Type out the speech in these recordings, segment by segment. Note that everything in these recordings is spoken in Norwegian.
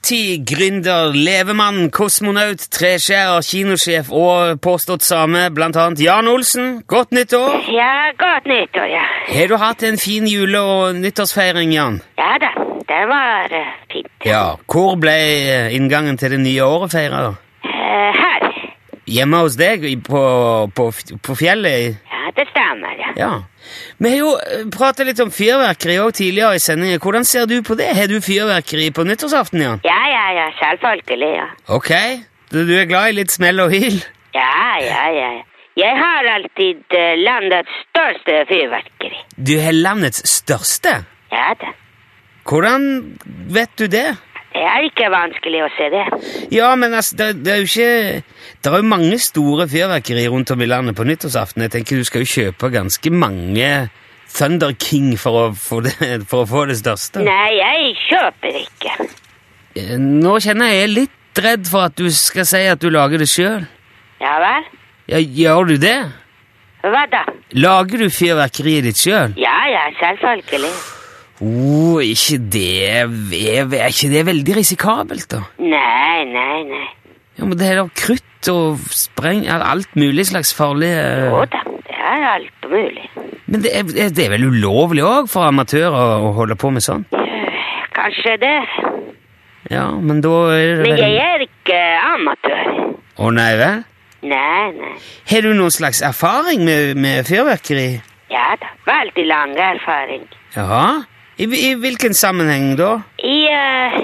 Multigründer, levemann, kosmonaut, treskjærer, kinosjef og påstått same, blant annet Jan Olsen. Godt nyttår! Ja, godt nyttår, ja. Har du hatt en fin jule- og nyttårsfeiring, Jan? Ja da, det var eh, fint. Ja. Hvor ble eh, inngangen til det nye året feira, da? Eh, her. Hjemme hos deg i- på, på, f- på fjellet? i- Ja, det stemmer, ja. Ja. Vi har jo prata litt om fyrverkeri òg tidligere i sendingen. Hvordan ser du på det? Har du fyrverkeri på nyttårsaften, Jan? Ja, ja, ja, selvfølgelig, ja. Ok, du, du er glad i litt smell og hyl? Ja, ja, ja. ja. Jeg har alltid eh, landets største fyrverkeri. Du har landets største? Ja da. Hvordan vet du det? Det er ikke vanskelig å se det. Ja, men altså, det, det er jo ikke Det er jo mange store fyrverkeri rundt om i landet på nyttårsaften. Jeg tenker du skal jo kjøpe ganske mange Thunder King for å få det, for å få det største. Nei, jeg kjøper ikke. Eh, Nå kjenner jeg jeg er litt redd for at du skal si at du lager det sjøl. Ja vel? Ja, gjør du det? Hva da? Lager du fyrverkeriet ditt sjøl? Ja, ja, selvfølgelig. Oh, ikke det er, er ikke det veldig risikabelt, da? Nei, nei, nei. Ja, men det er da krutt og spreng al- Alt mulig slags farlig eh. Jo da, det er alt mulig. Men det er, det er vel ulovlig òg for amatører å- å holde på med sånn? Eh, Kanskje det. Ja, men da er det Men vel jeg er ikke amatør. Å nei vel? Nei, nei. Har du noen slags erfaring med, med fyrverkeri? Ja da, veldig lang erfaring. Jaha? I, I hvilken sammenheng da? I uh,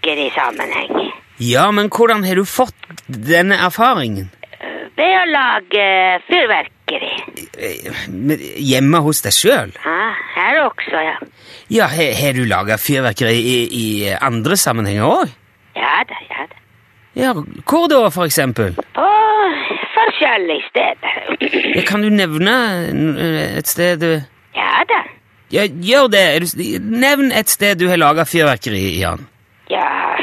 fyrverkerisammenheng. Ja, men hvordan har du fått denne erfaringen? Eh, Ved å lage eh, fyrverkeri. Eh, men Hjemme hos deg sjøl? Ja, her også, ja. Ja, har har du laga fyrverkeri i, i andre sammenhenger òg? Ja da, ja da. Ja, hvor da, for eksempel? På forskjellige steder. Ja, kan du nevne eh, et sted du ja da. Ja, gjør det. Er du- Nevn et sted du har laga fyrverkeri, Jan. Ja,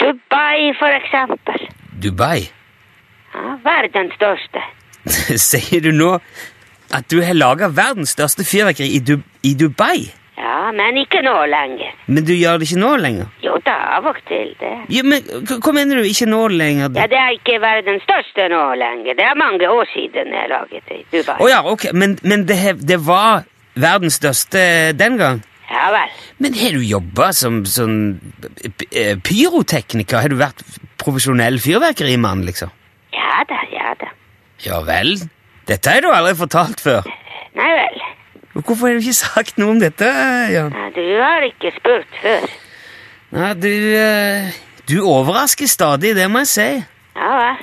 Dubai for eksempel. Dubai. Ja, verdens største. Sier du nå at du har laga verdens største fyrverkeri i, du i Dubai? Ja, men ikke nå lenger. Men du gjør det ikke nå lenger? Jo da, av og til det. Ja, men h- Hva mener du? Ikke nå lenger? Ja, det er ikke verdens største nå lenger. Det er mange år siden jeg laget det i Dubai. Å ja, ok, men, men det, he- det var verdens største den gang? Ja vel. Men har du jobba som sånn p- eh, pyrotekniker? Har du vært profesjonell fyrverkerimann, liksom? Ja da, ja da. Ja vel? Dette har du aldri fortalt før. Nei vel. Hvorfor har du ikke sagt noe om dette, Jan? Ja, Du har ikke spurt før. Nei, du, eh, du overrasker stadig, det må jeg si. Ja vel.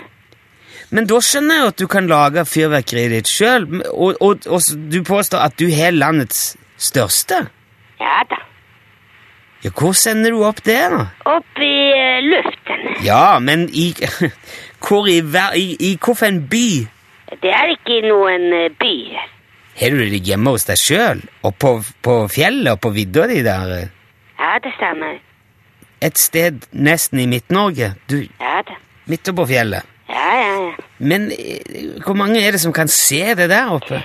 Men da skjønner jeg jo at du kan lage fyrverkeriet ditt sjøl, og, og, og s- du påstår at du har landets største. Ja da. Ja, hvor sender du opp det, da? Opp i eh, luften. Ja, men i Hvor i, ver- i, i hvilken by? Det er ikke i noen eh, by. Har du det hjemme hos deg sjøl? Og på, på fjellet og på vidda di der? eh? Ja, det stemmer. Et sted nesten i Midt-Norge? Du, Ja da. midt oppå fjellet? Ja, ja, ja. Men eh, hvor mange er det som kan se det der oppe?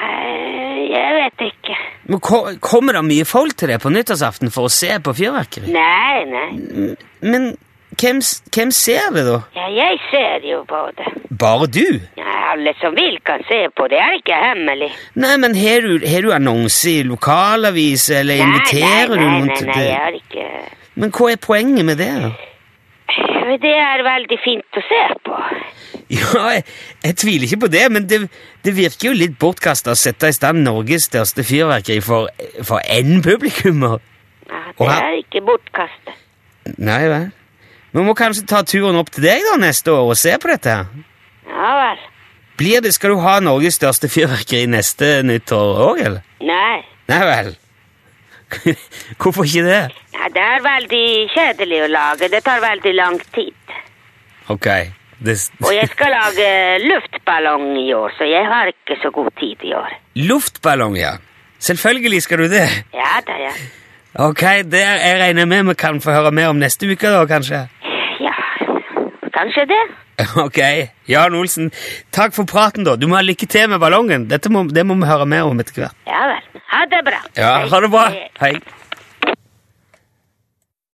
Eh, Jeg vet ikke. Men ko- Kommer det mye folk til deg på nyttårsaften for å se på fyrverkeri? Nei, nei. Men hvem, s- hvem ser det, da? Ja, jeg ser jo på det. Bare du? Ja, alle som vil kan se på det. Det er ikke hemmelig. Nei, men har du, har du annonse i lokalavis, eller inviterer du nei, noen nei, til nei, nei, det? jeg har ikke... Men hva er poenget med det? da? Det er veldig fint å se på. Ja, jeg, jeg tviler ikke på det, men det, det virker jo litt bortkasta å sette i stand Norges største fyrverkeri for, for én publikummer. Ja, Og det her- er ikke bortkastet. Nei vel. Vi må kanskje ta turen opp til deg da neste år og se på dette her. Ja vel. Blir det, skal du ha Norges største fyrverkeri neste nyttår òg, eller? Nei. Nei vel. Hvorfor ikke det? Ja, det er veldig kjedelig å lage. Det tar veldig lang tid. Ok. Det s- Og jeg skal lage luftballong i år, så jeg har ikke så god tid i år. Luftballong, ja. Selvfølgelig skal du det. Ja da, ja. Ok, det jeg regner med vi kan få høre mer om neste uke, da, kanskje. Ja, kanskje det. Ok. Jan Olsen, takk for praten, da. Du må ha lykke til med ballongen. Dette må, det må vi høre mer om etter hvert. Ja vel. Ha det bra. Ja, Ha det bra. Hei.